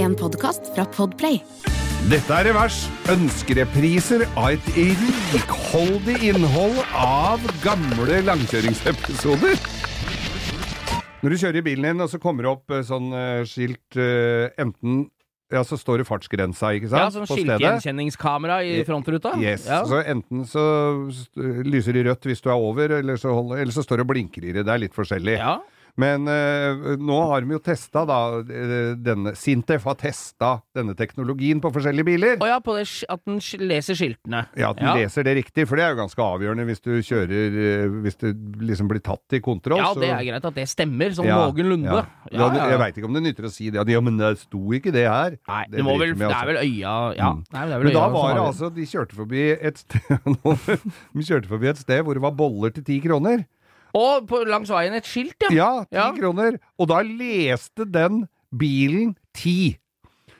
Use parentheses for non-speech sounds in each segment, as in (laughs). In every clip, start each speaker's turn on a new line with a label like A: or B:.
A: en podkast fra Podplay.
B: Dette er Revers. Ønskerepriser av et rikholdig innhold av gamle langkjøringsepisoder. Når du kjører i bilen din, og så kommer det opp eh, sånn eh, skilt eh, Enten Ja, så står det fartsgrensa, ikke sant?
C: Ja, sånn
B: på stedet.
C: skiltegjenkjenningskamera i frontruta.
B: Yes.
C: Ja.
B: Så enten så st- lyser de rødt hvis du er over, eller så, holder, eller så står det og blinker i det. Det er litt forskjellig.
C: ja.
B: Men eh, nå har de jo testa, da eh, denne Sintef har testa denne teknologien på forskjellige biler.
C: Og ja, på det, sk- at den sk- leser skiltene.
B: Ja, at den leser det riktig, for det er jo ganske avgjørende hvis du kjører eh, Hvis du liksom blir tatt i kontroll.
C: Ja,
B: så-
C: det er greit at det stemmer, sånn
B: Ja,
C: noenlunde.
B: ja.
C: Ja,
B: Ja, det-
C: ja, ja.
B: Jeg veit ikke om det nytter å si det. at, Ja, men det sto ikke det her.
C: Nei,
B: Det
C: det, må vel,
B: driter vi i,
C: det er
B: altså.
C: vel øya Ja.
B: Mm.
C: Nei, men det er vel
B: Men da
C: øya
B: var det
C: som
B: altså De kjørte forbi et sted (laughs) nå- De kjørte forbi et sted hvor det var boller til ti kroner.
C: Og på, langs veien et skilt, ja.
B: Ja, ti
C: Ja.
B: kroner. Og da leste den bilen ti.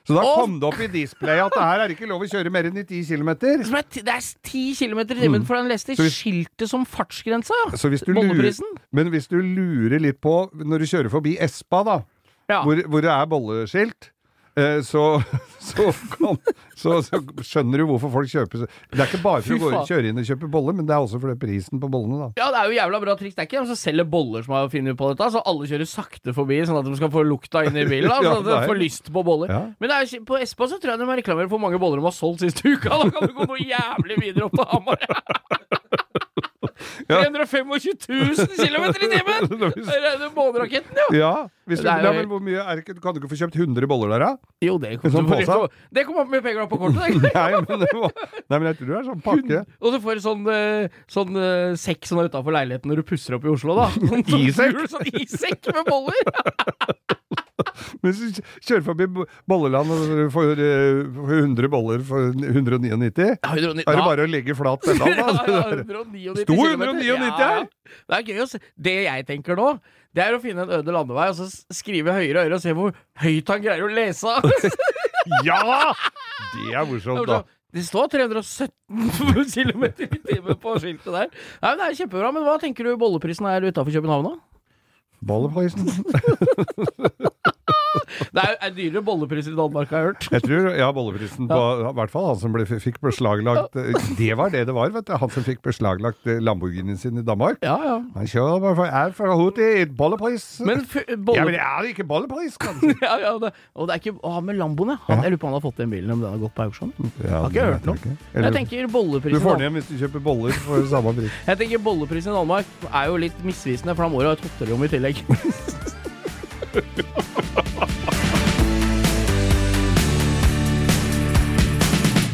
B: Så da
C: Å!
B: kom det opp i displayet at det her er ikke lov å kjøre mer enn i ti kilometer.
C: Som er ti- det er ti kilometer i timen, for den leste
B: Mm. Så hvis-
C: skiltet som fartsgrensa, ja.
B: Så hvis du lurer,
C: Bolleprisen.
B: men hvis du lurer litt på når du kjører forbi Espa, da,
C: Ja.
B: hvor, hvor det er bolleskilt eh, så, (laughs) så, kan, så, så skjønner du hvorfor folk kjøper så- Det er ikke bare for å
C: Fy
B: gå,
C: faen.
B: kjøre inn og kjøpe boller, men det er også fordi prisen på bollene, da.
C: Ja, det er jo jævla bra triks. Det er ikke de som selger boller som har funnet på dette, så alle kjører sakte forbi, sånn at de skal få lukta inn i bilen,
B: (laughs)
C: da,
B: Ja,
C: sånn at de
B: nei.
C: får lyst på boller.
B: Ja.
C: Men det er, jo ikke- på Espa så tror jeg de har reklamert for mange boller de har solgt siste uka. (laughs) Da kan du gå noe jævlig videre opp til Hamar. 325 000 km i
B: (laughs)
C: timen! (laughs) Det er den bolleraketten, jo.
B: Ja, hvis du,
C: Det er jo
B: ja,
C: helt-
B: men hvor mye er det ikke Kan du ikke få kjøpt 100 boller der, da? (laughs)
C: Jo, det
B: En sånn
C: kommer
B: pose?
C: på- det kom opp med penger da på kortet. det. (laughs)
B: Nei, men, det var, nei, men jeg tror det er sånn pakke.
C: Og så får du sånn, eh, sånn eh, sekk som er utafor leiligheten når du pusser opp i Oslo, da. Sånn,
B: (laughs) Isekk?
C: Sånn isekk med boller!
B: Hvis du kjører forbi Bo- Bolleland og du får eh, får 100 boller for 199, er
C: Ja, 190
B: det
C: da-
B: bare å legge flat pedal,
C: (laughs) Ja, ja,
B: da?
C: 199
B: Sto
C: kilometer.
B: 199
C: Ja,
B: her.
C: ja. Det er gøy å se. Det jeg tenker nå, det er å finne en øde landevei og så s- skrive høyere og høyere og se hvor høyt han greier å lese.
B: (laughs) Ja! Det er morsomt, da.
C: Det står (laughs) 317 km i timen på skiltet der. Nei, men Det er kjempebra. Men hva tenker du bolleprisen er utafor København, da?
B: Bolleprisen.
C: Det er, er dyrere bollepris i Danmark, har jeg hørt.
B: Jeg tror, ja, bolleprisen på I hvert fall han som ble, fikk beslaglagt Det var det det var, vet du. Han som fikk beslaglagt eh, Lamborghinien sin i Danmark.
C: Ja, ja.
B: Han kjører bare for, er fra Hoti, bollepris.
C: Men f
B: Ja, men
C: bolle...
B: det er ikke bollepris, kanskje.
C: (laughs) Ja, ja, det, og det er ikke Å, med Lamboen, ja. Han- Jeg lurer på om han har fått den bilen, om den har gått på auksjon.
B: Ja,
C: Har ikke hørt noe.
B: Eller-
C: Jeg tenker
B: Du
C: bolleprisen
B: får den igjen hvis du kjøper boller for samme pris.
C: Jeg tenker bolleprisen i Danmark er jo litt misvisende, for da må du ha et hotellrom i tillegg.